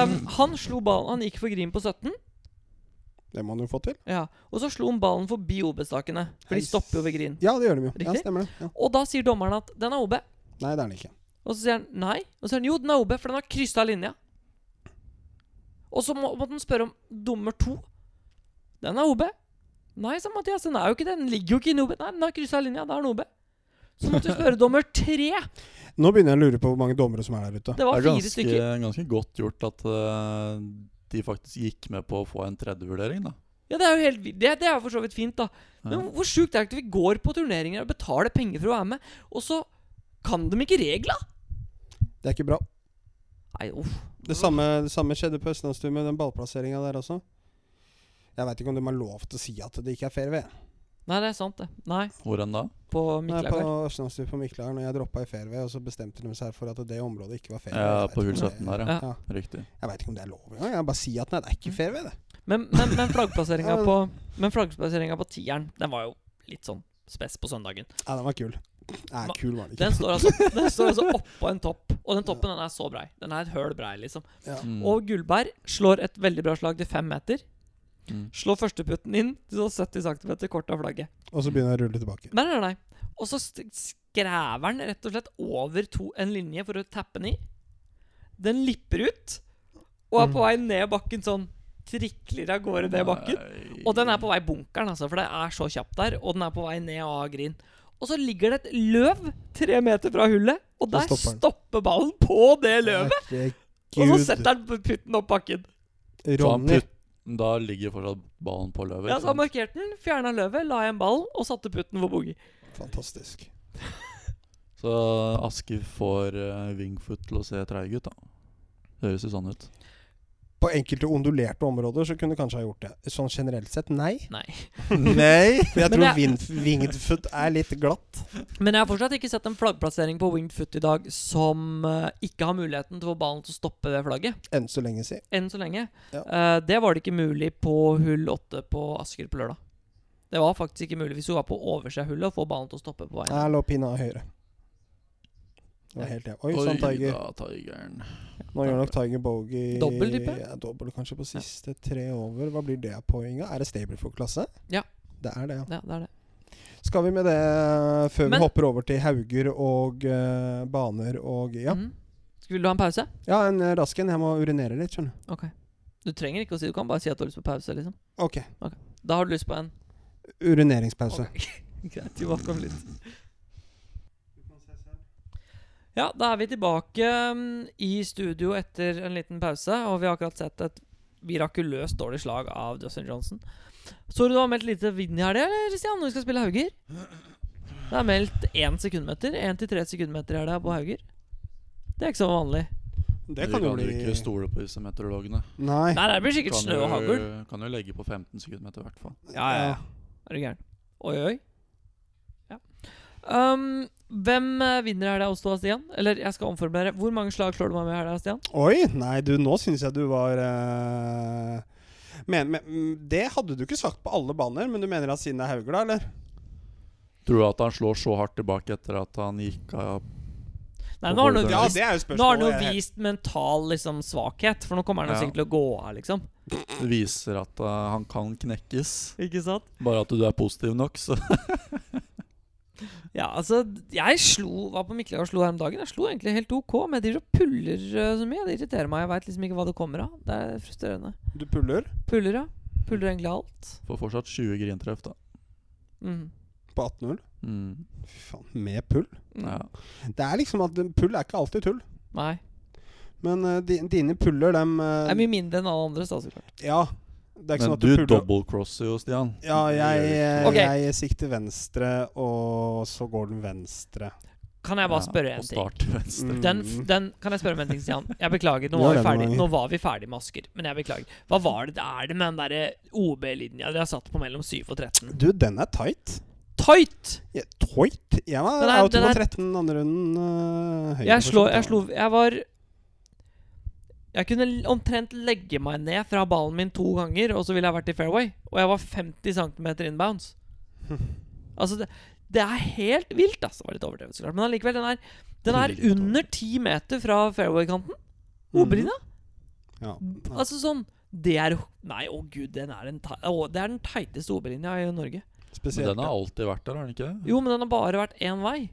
ehm, han slo ballen Han gikk for Grim på 17. det må han jo få til. Ja. Og så slo han ballen forbi OB-stakene. For Hei. de stopper jo ved Grin. Ja, det gjør de jo. Ja, Riktig. stemmer det. Ja. Og da sier dommeren at den er OB. Nei, det er han ikke. Og så sier han nei. Og så sier han jo, den er OB, for den har kryssa linja. Og så må, måtte han spørre om dommer to. Den er OB. Nei, sa Mathias, den er jo ikke det. Den ligger jo ikke inne i OB. Nei, den har kryssa linja. Da er den OB. Så måtte vi spørre dommer tre. Nå begynner jeg å lure på hvor mange dommere som er der ute. Det Det var er fire ganske, stykker. ganske godt gjort at eh, de faktisk gikk med på å få en tredjevurdering, da. Ja, det er jo helt vilt. Det, det er jo for så vidt fint, da. Men Ja. hvor sjukt er det ikke at vi går på turneringer og betaler penger for å være med, og så kan de ikke regla? Det er ikke bra. Nei, uff. Det samme, det samme skjedde på Østlandsturen med den ballplasseringa der også. Jeg veit ikke om de har lov til å si at det ikke er fair ved. Nei, det er sant, det. Nei, Hvor enn da? på Nei, på Miklagard. Østlandsturen på Miklageren, og jeg droppa i fair ved, og så bestemte de seg for at det området ikke var fair ved. Ja, Jeg vet på hull ikke 17 om det- der, ja. Ja. Ja. Riktig. Jeg veit ikke om det er lov engang. Jeg bare sier at nei, det er ikke Mm. fair ved, det. Men, men, men flaggplasseringa Ja, men- på Men flaggplasseringa på tieren, den var jo litt sånn spess på søndagen. Ja, den var kul. Nei, Ma- kul var den ikke. Den står altså, den står altså oppå en topp, og den toppen den er så brei. Den er et høl brei, liksom. Ja. Mm. Og Gullberg slår et veldig bra slag til fem meter. Mm. Slår førsteputten inn til sånn 70 cm kort av flagget. Og så begynner jeg å rulle tilbake. Nei, nei, nei. Og så st- skræver han rett og slett over to, en linje for å tappe den i. Den lipper ut, og er Mm. på vei ned bakken sånn. Trikler av gårde ned bakken. Nei. Og den er på vei i bunkeren, altså, for det er så kjapt der. Og den er på vei ned av Grin. Og så ligger det et løv tre meter fra hullet, og Da der stopper den. stopper ballen på det løvet! Herregud. Og så setter han putten opp bakken. Så han Ronny. putt- Da ligger fortsatt ballen på løvet. Ja, ikke så han sant? markerte den, fjerna løvet, la igjen ballen og satte putten for boogie. Fantastisk. Så Aske får eh, Wingfoot til å se treig ut, da. Høres jo sånn ut. På enkelte ondulerte områder så kunne du kanskje ha gjort det. Sånn generelt sett, nei. Nei. Nei For jeg Men tror det- vinged Wingedfoot er litt glatt. Men jeg har fortsatt ikke sett en flaggplassering på winged foot i dag som eh, ikke har muligheten til å få ballen til å stoppe ved flagget. Enn så lenge si. Enn så lenge. Ja. Eh, det var det ikke mulig på hull åtte på Asker på lørdag. Det var faktisk ikke mulig hvis hun var på oversida av hullet og få ballen til å stoppe på veien. Jeg lå pinna høyre. Det var helt, ja. Oi sann, Tiger. da, Tigeren. Nå gjør nok Tiger Bogey Dobbel, tipper jeg. Ja, dobbel kanskje på siste tre over. Hva blir det på, Inga? Er det stable for klasse? Ja. Det er det, ja. Ja, det er det. Skal vi med det eh, før Men- vi hopper over til Hauger og eh, baner og Ja, Mhm. Skal- Vil du ha en pause? ja en eh, rask en. Jeg må urinere litt, skjønner du. Ok. Du trenger ikke å si det, du kan bare si at du har lyst på pause. liksom Ok. Da har du lyst på en. Urineringspause. Ok. Greit, tilbake om litt. Ja, da er vi tilbake mm, i studio etter en liten pause, og vi har akkurat sett et mirakuløst dårlig slag av Dustin Johnson. Så du har meldt lite vind i helga, eller, Christian, når vi skal spille Hauger? Det er meldt én sekundmeter. Én til tre sekundmeter i helga på Hauger. Det er ikke så vanlig. Det kan jo du bli ikke stole på disse meteorologene. Nei. Nei, det blir sikkert Kan snø og hagl. jo, kan jo legge på 15 sekundmeter, i hvert fall. Ja, ja, ja. Er du gæren? Oi, oi. Ja. Um, hvem eh, vinner her, da, Osto og Stian? Eller jeg skal omformulere. Hvor mange slag slår du meg med her, da, Stian? Oi! Nei, du, nå syns jeg du var eh, men, men mm, Det hadde du ikke sagt på alle baner, men du mener at siden det er Hauger, da, eller? Tror du at han slår så hardt tilbake etter at han gikk av Nei, nå har han jo Ja, vist, det er jo nå har han jo jeg- vist mental liksom, svakhet, for nå kommer han jo Ja. sikkert til å gå av, liksom. Viser at eh, han kan knekkes. Ikke sant? Bare at du er positiv nok, så Ja, altså, jeg slo Var på Mikkelager og slo her om dagen. Jeg slo egentlig helt OK, men jeg driver og puller eh, så mye. Det irriterer meg. Jeg veit liksom ikke hva det kommer av. Det er frustrerende. Du puller Puller, ja. Puller egentlig alt. får fortsatt 20 grintreff, da. Mm. på 18-0. Mm. Fy faen, med pull? Mm. Ja. Det er liksom at eh, pull er ikke alltid tull. Nei. Men eh, di, dine puller, dem eh, Det er mye mindre enn alle andres, da, så klart. Ja. Det er ikke sånn Men at du du puller double-crosser jo, Stian. Ja, jeg, eh, Ok. jeg sikter venstre, og så går den venstre. Kan jeg bare spørre en og ting? start venstre. Mm. Den, f- den, kan jeg spørre om en ting, Stian? Jeg beklager, nå Gjør var, vi det, ferdig, Marie. nå var vi ferdig med Asker. Men jeg beklager. Hva var det det er det med den derre OB-linja dere har satt på mellom 7 og 13? Mm. Du, den er tight. Tight! Ja, tight? Jeg var Den er- out den på er- 13 andre runden. øh, høyre Jeg for slo, sånt, jeg da. slo Jeg var Jeg kunne l- omtrent legge meg ned fra ballen min to ganger, og så ville jeg vært i fairway. Og jeg var 50 cm inbounds. Altså, det, det er helt vilt, altså. Det var litt overdrevet, så klart. Men allikevel, den er, den er Litt under 10 meter fra fairway-kanten. Mhm. OB-linja. Ja. Altså sånn Det er Nei, å gud, den er den, ti- å, det er den teiteste OB-linja i Norge. Men Spesielt. den har alltid vært der, har den ikke det? Jo, men den har bare vært én vei.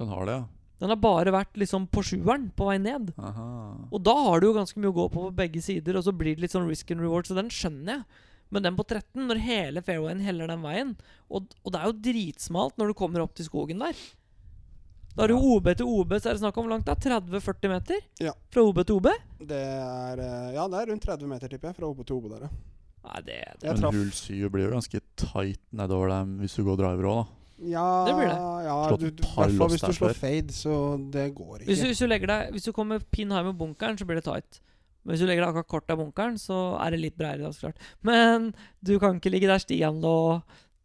Den har det, ja. Den har bare vært liksom på sjueren, på vei ned. Aha. Og da har du jo ganske mye å gå på på begge sider, og så blir det litt sånn risk and reward, så den skjønner jeg. Men den på 13, når hele fairwayen heller den veien Og, og det er jo dritsmalt når du kommer opp til skogen der. Da er det jo OB til OB, så er det snakk om hvor langt det er. 30-40 meter? Ja. Fra OB til OB? Det er øh, Ja, det er rundt 30 meter, tipper jeg, fra OB til OB der, ja. Nei, det, det. Jeg Men traff hull 7 blir jo ganske tight nedover dem hvis du går driver òg, da. Ja, Det blir det. ja Slått du, et du, par hvertfall loss hvis du der slår før. fade, så det går Hvis du, ikke. hvis du legger deg Hvis du kommer pin high med bunkeren, så blir det tight. Men hvis du legger deg akkurat kort av bunkeren, så er det litt bredere. da, så klart. Men du kan ikke ligge der Stian lå.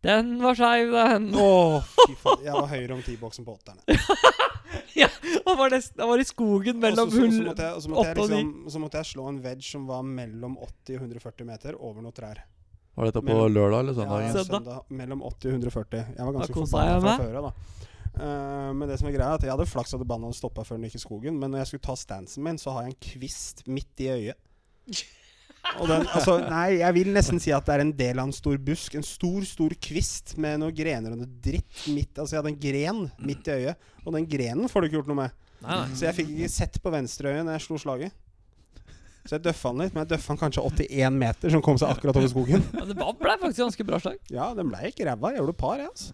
Den var skeiv, den! Å, fy faen. Jeg var høyere om T-boksen på åtterne. Han var, nesten, han var i skogen mellom Og så- så- så hull måtte jeg- og så måtte jeg åtte og ni. liksom- Så måtte jeg slå en wedge som var mellom 80 og 140 meter, over noen trær. Var dette på Men- lørdag eller søndag? Ja, Søndag. søndag. Mellom 80 og 140. Jeg var Da ganske kosa forbanna jeg fra meg. før av, da. Eh, men det som er greia er at jeg hadde flaks at banen hadde stoppa før den gikk i skogen. Men når jeg skulle ta stansen min, så har jeg en kvist midt i øyet. Og den, altså, nei, jeg vil nesten si at det er en del av en stor busk. En stor, stor kvist med noen grener og noe dritt midt Altså, jeg hadde en gren midt i øyet, og den grenen får du ikke gjort noe med. Nei, nei. Så jeg fikk ikke sett på venstre øye når jeg slo slaget. Så jeg døffa den litt, men jeg døffa den kanskje 81 meter, som kom seg akkurat over skogen. Men det var- ble faktisk ganske bra slag. Ja, den blei ikke ræva. Jeg gjorde par, jeg, altså.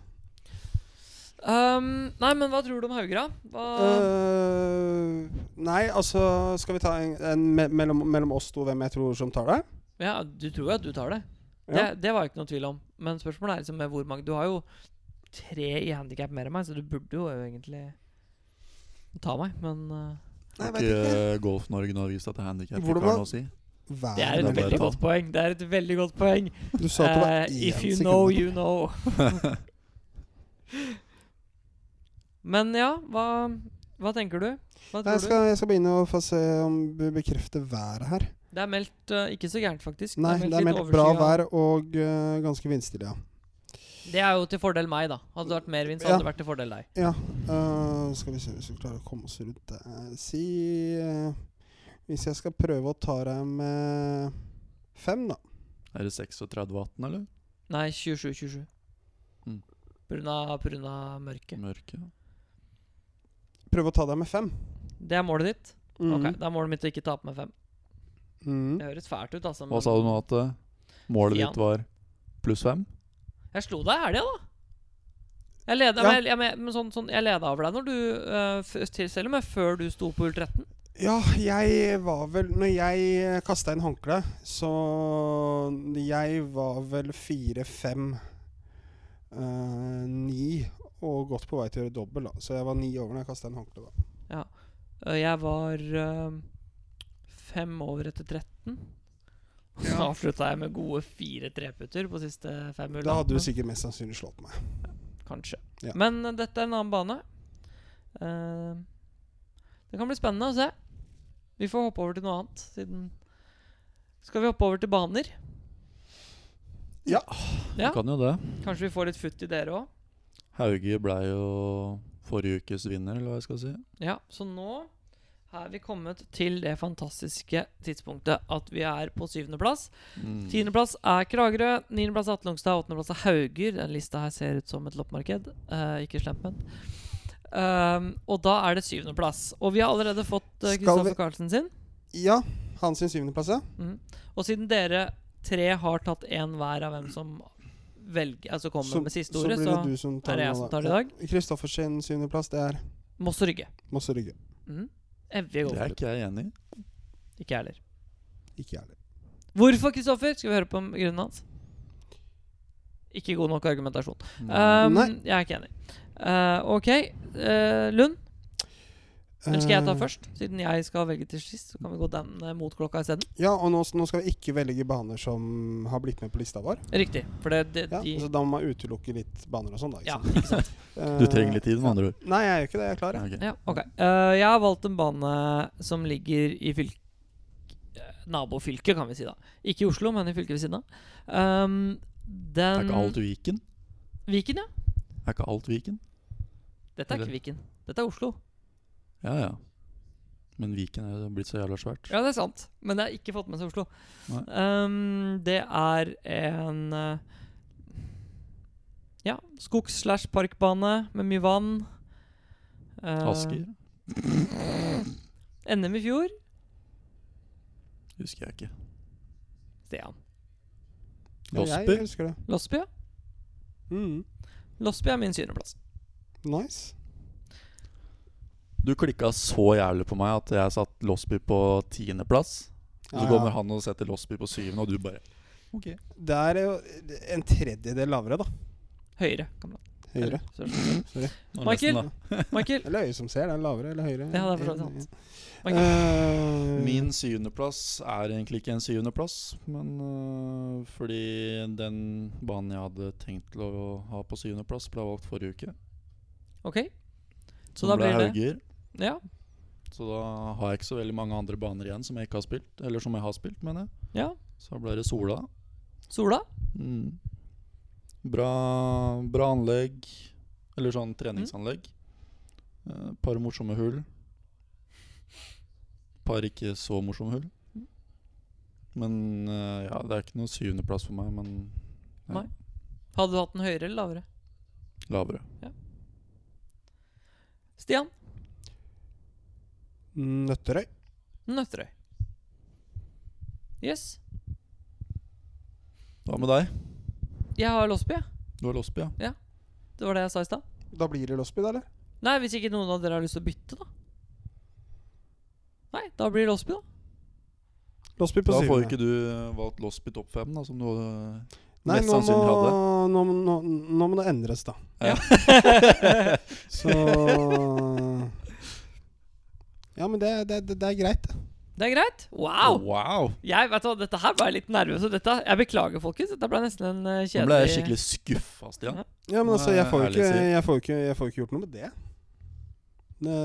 Um, nei, men hva tror du om Hauger, da? Hva, Eh. Øh, nei, altså Skal vi ta en, en me mellom, mellom oss to hvem jeg tror som tar det? Ja, du tror jo at du tar det. Det, Ja. det var jo ikke noe tvil om. Men spørsmålet er liksom med hvor mange Du har jo tre i handikap mer enn meg, så du burde jo egentlig ta meg, men eh, Nei, Har jeg vet ikke. ikke Golf-Norge nå vist at handikap ikke har Hvordan var- noe å si? Vær Ah, Det er et det er bare veldig å ta. godt poeng. Det er et veldig godt poeng. Du sa at det var Eh, én if you sekund. know, you know. Men ja, hva, hva tenker du? Hva Nei, jeg, tror skal, jeg skal begynne å få se om vi bekrefter været her. du? Det er meldt eh, ikke så gærent, faktisk. Nei, det er litt meldt bra overskyet. vær og eh, ganske vindstille, ja. Det er jo til fordel meg, da. Hadde det vært mer vind, så Ja. hadde det vært til fordel deg. Ja, øh, skal vi se hvis vi klarer å komme oss rundt det. Eh, Si eh, Hvis jeg skal prøve å ta deg med fem, da. Er det 36-18, eller? Nei, 27-27. Mm. Pga. mørket. Mørke? Prøve å ta deg med fem. Det er målet ditt? Mm. Ok, da er målet mitt å ikke tape med fem. Mm. Det høres fælt ut, altså. Hva sa du nå at eh, målet Stian. ditt var pluss fem? Jeg slo deg i helga, da. Jeg leda, Ja. men jeg, jeg, men- men sånn, sånn, jeg leda over deg når du eh, f til, Selv om jeg før du sto på hull 13. Ja, jeg var vel Når jeg eh, kasta inn håndkleet, så Jeg var vel fire-fem eh, ni og godt på vei til å gjøre dobbel, da. Så jeg var ni over når jeg kasta inn håndkleet, da. Eh, jeg var eh, fem over etter 13. Og så avslutta jeg med gode fire treputter på siste fem hull. Da hadde du sikkert mest sannsynlig slått meg. Kanskje. Ja. Men eh, dette er en annen bane. Eh, det kan bli spennende å se. Vi får hoppe over til noe annet, siden Skal vi hoppe over til baner? Ja. Du kan jo det. Kanskje vi får litt futt i dere òg? Hauge ble jo forrige ukes vinner, eller hva jeg skal si. Ja, så nå er vi kommet til det fantastiske tidspunktet at vi er på syvendeplass. Mm. Tiendeplass er Kragerø, niendeplass er Atlungstad, åttendeplass er Hauger. Den lista her ser ut som et loppemarked. Eh, ikke slemt, men. Ehm, og da er det syvendeplass. Og vi har allerede fått eh, Skal vi- Kristoffer Carlsen sin. Ja, han sin syvendeplass, ja. Mhm. Og siden dere tre har tatt én hver av hvem som velger, altså kommer med siste ordet, blir så det du som er det nå, jeg som tar det i Ja. dag. Kristoffer sin syvendeplass, det er Moss og Rygge. Mosse Rygge. Mhm. Evige Det er golfklubb. ikke jeg enig i. Ikke jeg heller. Ikke jeg heller. Hvorfor, Kristoffer? Skal vi høre på om grunnen hans? Ikke god nok argumentasjon. Nei. Um, Nei. Jeg er ikke enig. Eh, ok, eh, Lund. Eller skal jeg ta Eh, først? Siden jeg skal velge til sist, så kan vi gå den eh, mot klokka isteden. Ja, og nå, nå skal vi ikke velge baner som har blitt med på lista vår. Riktig. For det, det, Ja, Altså- de Så da må man utelukke litt baner og sånn, da. Ja, sant? ikke sant? Du Eh, trenger litt tid, med andre ord. Nei, jeg gjør ikke det. Jeg er klar, jeg. Ok. Ja, ok. Eh, jeg har valgt en bane som ligger i fylk... eh, Nabofylket, kan vi si, da. Ikke i Oslo, men i fylket ved siden av. Um, Er den ikke alt Viken? Viken, ja. Er ikke alt Viken? Dette er Eller- ikke Viken. Dette er Oslo. Ja, ja. Men Viken er jo blitt så jævla svært. Ja, det er sant. Men det har ikke fått med seg Oslo. Nei. Ehm, det er en eh, Ja, skogs-slash-parkbane med mye vann. Eh, Asker? NM i fjor. Husker jeg ikke. Stian. Losby? Jeg husker det. Losby, ja. Mm. Losby er min syvendeplass. Nice. Du klikka så jævlig på meg at jeg satt Losby på tiendeplass. Så Ja, ja. kommer han og setter Losby på syvende, og du bare Ok. Det er jo en tredjedel lavere, da. Høyre. kamerat. Høyre. Eller, sorry. Nå Michael! nesten, da. Michael. Eller øyet som ser, det er lavere eller høyere. Ja, det er for så vidt sant. Michael. Eh, Min syvendeplass er egentlig ikke en syvendeplass, men øh, fordi den banen jeg hadde tenkt til å ha på syvendeplass, ble valgt forrige uke. OK. Så Som da ble blir det Hauger. Ja. Så da har jeg ikke så veldig mange andre baner igjen som jeg ikke har spilt. Eller som jeg har spilt, mener jeg. ja. Så da ble det Sola. Sola. Mm. Bra, bra anlegg. Eller sånn treningsanlegg. Et par morsomme hull. Par ikke så morsomme hull. Men eh, ja, det er ikke noe syvendeplass for meg, men ja, Nei. Hadde du hatt den høyere eller lavere? lavere. Stian. Nøtterøy. Nøtterøy. Yes. Hva med deg? Jeg har Losby, jeg. Du har Losby, ja. Det var det jeg sa i stad. Da blir det Losby, da, eller? Nei, hvis ikke noen av dere har lyst til å bytte, da. Nei, da blir det Losby, da. Losby på Da får syvende. ikke du eh, valgt Lospit opp fem, da, som du eh, Nei, mest nå må, sannsynlig hadde. nå, må- nå, nå må det endres, da. Ja. Så Ja, men det, det, det, det er greit. Det er greit. Wow! wow. Jeg vet du hva, Dette her ble jeg litt nervøs. og Dette, jeg beklager, folkens. Dette ble nesten en eh, Nå ble jeg kjedelig skikkelig skuffa, Stian. Ja, men Nå altså, er jeg får jo jeg ikke, ærlig, sier. jeg får jo ikke, jeg får jo ikke gjort noe med det. Det,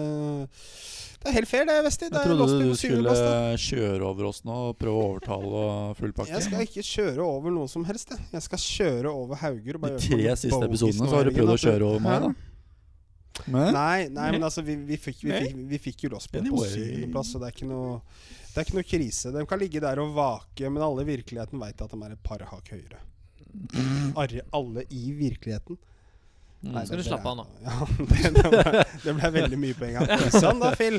det er helt fair, det, Vesti. Det Jeg er trodde Losby du på syvende skulle plass. da. kjøre over oss nå og prøve å overtale og full pakke. Jeg skal ikke kjøre over noe som helst. Jeg, jeg skal kjøre over Hauger. og De bare gjøre tre noe siste bogus episodene nå så har du i prøvd å helgen, at kjøre over meg, Hæ? da. Men Nei, nei, men altså, vi, vi, fikk, vi, fikk, vi fikk jo Losby på Anyway. syvendeplass, så det er ikke noe det er ikke noe krise. De kan ligge der og vake, men alle i virkeligheten veit at de er et par hakk høyere. Arre, alle i virkeligheten. Nei, Skal du det- det slappe er- av nå. Ja, det, det, ble, det ble veldig mye poeng. av. Sånn da, Phil.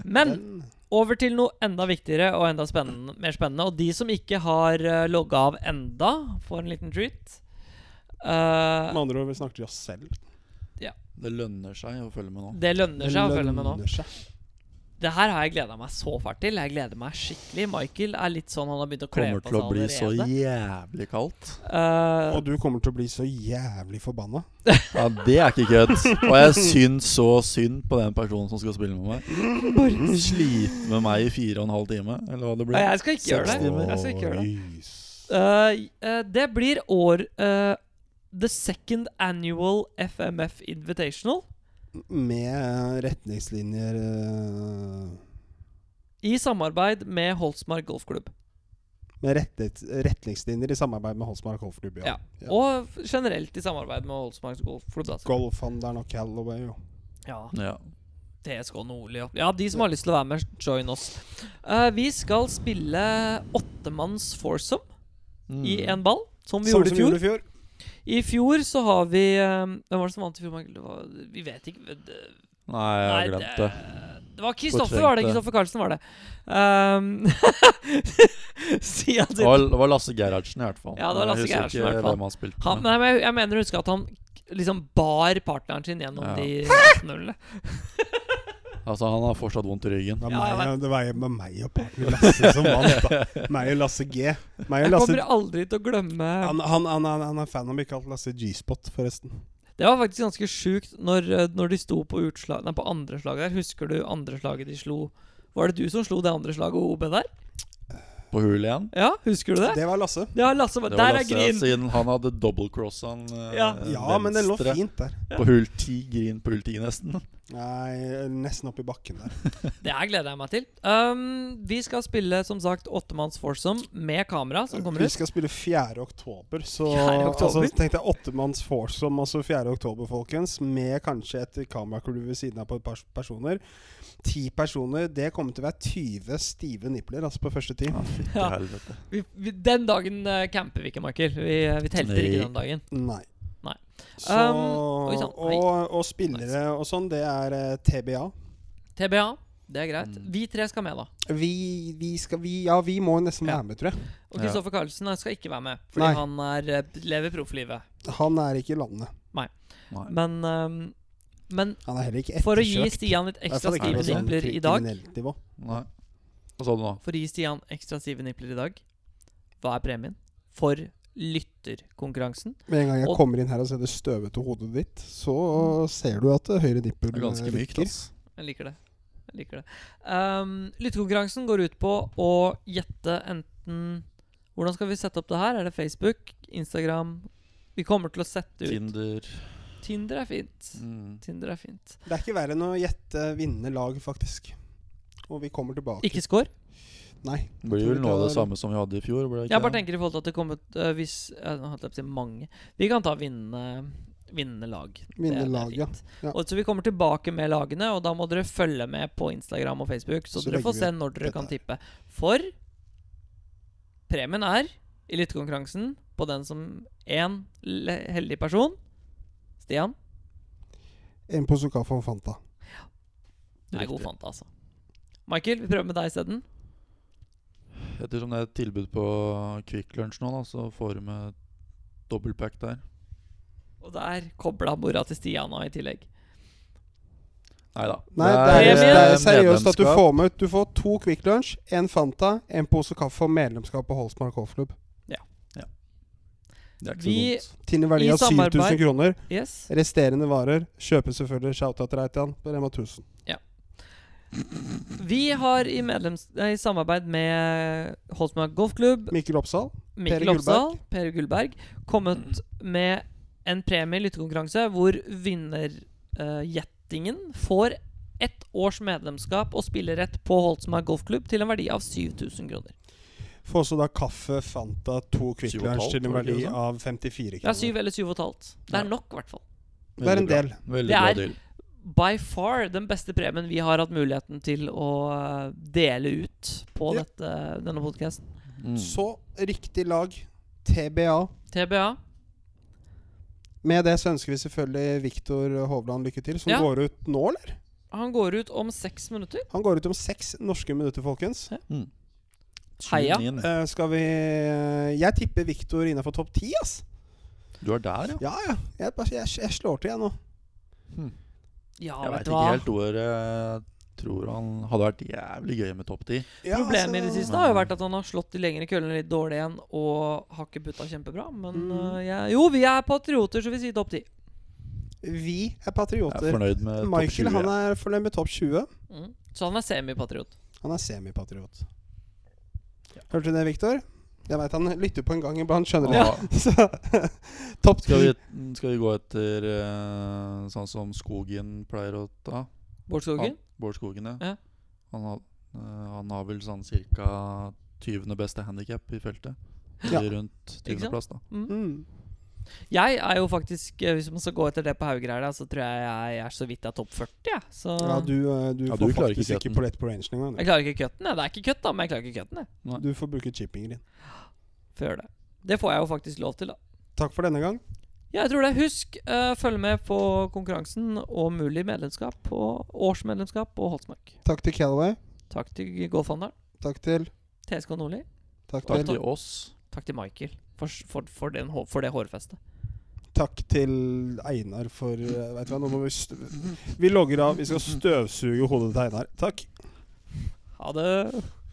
Men Den- over til noe enda viktigere og enda spennende, mer spennende. Og de som ikke har uh, logga av enda, får en liten treat. Eh, Med andre ord, vi snakker til oss selv. det lønner seg å følge med nå. det lønner seg å følge med nå. lønner seg. Det her har jeg gleda meg så fælt til. Jeg gleder meg skikkelig. Michael er litt sånn han har begynt å kle Kommer på til å seg bli så allerede. jævlig kaldt. Eh, Og du kommer til å bli så jævlig forbanna. Ja, Det er ikke kødd. Og jeg syns så synd på den personen som skal spille med meg. Slite med meg i fire og en halv time, eller hva det Nei, blir. jeg skal ikke gjøre det. timer. Jeg skal ikke gjøre det. Lys. Eh, eh, det blir år eh, The second annual FMF Invitational Med eh, retningslinjer eh, i samarbeid med Holsmark Golfklubb. Med rettet, retningslinjer i samarbeid med Holsmark Golfklubb. Ja. Og generelt i samarbeid med Holsmark Golfklubb. Da. Golfhandelen og Callaway. Jo. Ja, Ja. TSK Nordli og Ja, de som har lyst til å være med, join oss. Eh, vi skal spille åttemanns foursome Mm. i en ball, som vi Samme gjorde i som fjor. i fjor. I fjor så har vi eh, Hvem var det som vant i fjor? Michael? Det var, vi vet ikke. Det, Nei, jeg har glemt det. det var Kristoffer, var det. Fortrengte. Kristoffer Karlsen, var det. Um, si at Det det, var, det var Lasse Gerhardsen i hvert fall. Ja, det var Lasse jeg husker Gerhardsen i hvert fall. ikke hvem han spilte han, med. nei, men jeg, jeg mener å huske at han liksom bar partneren sin gjennom Ja. de nullene. eh, Altså, han har fortsatt vondt i ryggen. Det var, Ja, jeg meg, det var med meg og partner Lasse som vant. da Meg og Lasse G. Meg Jeg og Lasse kommer aldri til å glemme han, han, han, han er fan av meg kalt Lasse G-spot, forresten. Det var faktisk ganske sjukt når, eh, når de sto på, utslag, nei, på andre slaget der. Husker du andre slaget de slo? Var det du som slo det andre slaget OB der? På hull igjen. Ja, husker du det? Det var Lasse. Ja, Lasse var Det Der var er grin! siden han hadde double-crossa han eh, Ja. Ja, men den lå venstre fint der. På hull 10, grin på hull 10 nesten. Nei, nesten oppi bakken der. Det her gleder jeg meg til. Um, vi skal spille som sagt åttemanns foursome med kamera som kommer Vi ut. skal spille 4. oktober, så 4. oktober? Altså, tenkte jeg åttemanns foursome, altså 4. oktober, folkens. Med kanskje et kameracrew ved siden av på et par personer. Ti personer. Det kommer til å være 20 stive nipler altså på første ti. Ja, fytti Ja. helvete. Vi, vi, den dagen eh, camper vi ikke, Michael. Vi, eh, vi telter Nei. ikke den dagen. Nei. Nei. Så, Um, oi sann, nei. og, og spillere og sånn, det er eh, TBA. TBA, det er greit. Mm. Vi tre skal med, da. Vi, vi skal vi, Ja, vi må nesten Ja. være med, tror jeg. Og Ja. Kristoffer Carlsen han skal ikke være med, fordi Nei. han er, eh, lever profflivet. Han er ikke i landet. Nei. Men, um, men Han er heller ikke etterkjørt. for å gi Stian litt Derfor ekstra er det ikke stive på sånn nipler i dag kriminelt nivå. Nei. Hva sa du nå? For å gi Stian ekstra stive nipler i dag, hva er premien? For lytterkonkurransen. Med en gang jeg Og- kommer inn her og ser det støvete hodet ditt, så ser du at eh, høyre nippel Det er ganske eh, mykt, altså. rykker. ass. Jeg liker det. Jeg liker det. Um, lyttekonkurransen går ut på å gjette enten Hvordan skal vi sette opp det her? Er det Facebook? Instagram? Vi kommer til å sette ut Tinder. Tinder er fint. Mm. Tinder er fint. Det er ikke verre enn å gjette vinnende lag, faktisk. Og vi kommer tilbake. Ikke score. Nei. Det blir vel nå det samme som vi hadde i fjor? Ble det ikke Jeg bare det? tenker i forhold til at det kommer uh, Hvis eh, Nå holdt jeg på å si mange. Vi kan ta vinnende Vinnende lag. Det- det Vinnende er lag, ja. fint. Ja. Og så Vi kommer tilbake med lagene, og da må dere følge med på Instagram og Facebook. Så, Så dere legger får vi se opp når dere dette kan her. tippe. For premien er, i lyttekonkurransen, på den som én le- heldig person Stian. En pose kaffe og Fanta. Du er Riktig. god fanta, altså. Michael, vi prøver med deg isteden. Ettersom det er et tilbud på Kvikk Lunsj nå, da, så får du med dobbeltpack der. Og der kobla mora til Stian av i tillegg. Neida. Nei, det er- er, det er medlemskap. seriøst at du medlemskap. får med Du får to Quick Lunch, en Fanta, en pose kaffe og medlemskap på Holsmark Golfklubb. Det er ikke Vi- så dumt. Til en verdi I av 7000 samarbeid. kroner. Yes. Resterende varer kjøpes selvfølgelig shoutout til deg, Tian, på Rema 1000. Vi har i, medlems, nei, i samarbeid med Holsmark Golfklubb, Mikkel Oppsal. Mikkel Gullberg. Opsahl, Per Gullberg, kommet med en premie i lyttekonkurranse hvor vinnergjettingen får ett års medlemskap og spillerett på Holsmark Golfklubb til en verdi av 7000 kroner. Får også da kaffe, Fanta, to Quick Syv og et Lunch halvt, til en var det ikke verdi det sånn? av 54 Ja, kroner. syv eller syv og et halvt. Det Ja. er nok, i hvert fall. Det er en Veldig bra. del. Veldig Det bra er- deal. By far den beste premien vi har hatt muligheten til å eh, dele ut på Ja. dette, denne podkasten. Mm. Så riktig lag, TBA. TBA. Med det så ønsker vi selvfølgelig Viktor Hovland lykke til, som Ja. går ut nå, eller? Han går ut om seks minutter. Han går ut om seks norske minutter, folkens. Mm. Heia. Tune in. Eh, skal vi eh, Jeg tipper Viktor innafor topp ti, ass. Du er der, ja. Ja, ja. Jeg, bare- jeg, jeg slår til, jeg nå. Ja, Jeg vet veit du ikke hva. helt hvor jeg tror han hadde vært jævlig gøy med topp ti. Ja, Problemet i det altså, siste har jo vært at han har slått de lengre køllene litt dårlig igjen og har ikke putta kjempebra. Men Mm. eh, jeg, jo, vi er patrioter, så vi sier topp ti. Vi er Jeg er patrioter. fornøyd med topp 20. Michael han ja. er fornøyd med topp 20. Mm. Så han er semipatriot. Han er semipatriot. Hørte du det, Viktor? Jeg veit han lytter på en gang iblant, skjønner du. Ja. Så topp Skal, 10 vi, skal vi gå etter eh, sånn som Skogen pleier å ta? Bård Skogen? Han, Bård Skogen, ja. Ja. Han, har, eh, han har vel sånn ca. 20. beste handikap i feltet. Ja. Eller Rundt Ikke sant? 20. plass, da. Mm. Mm. Jeg er jo faktisk eh, Hvis man skal gå etter det på Haugereia, så tror jeg jeg er så vidt jeg er topp 40. Ja. Så Ja, du, eh, du Ja, får du klarer ikke faktisk ikke cutten. pollett på rangen engang. jeg klarer ikke cutten. jeg. Det er ikke cut, da, men jeg klarer ikke cutten. jeg. Nei. Du får bruke chippingen din. Før det. Det får jeg jo faktisk lov til, da. Takk for denne gang. Ja, jeg tror det. Husk, eh, følg med på konkurransen og mulig medlemskap og årsmedlemskap på Holsmark. Takk til Calaway. Takk til Golfhandelen, Takk til TSK Nordli. Takk Takk til til oss. Takk til Michael for, for, for, den, hå- for det hårfestet. Takk til Einar for eh, Vet du hva, nå må vi stø Vi logger av. Vi skal støvsuge hodet til Einar. Takk. Ha det.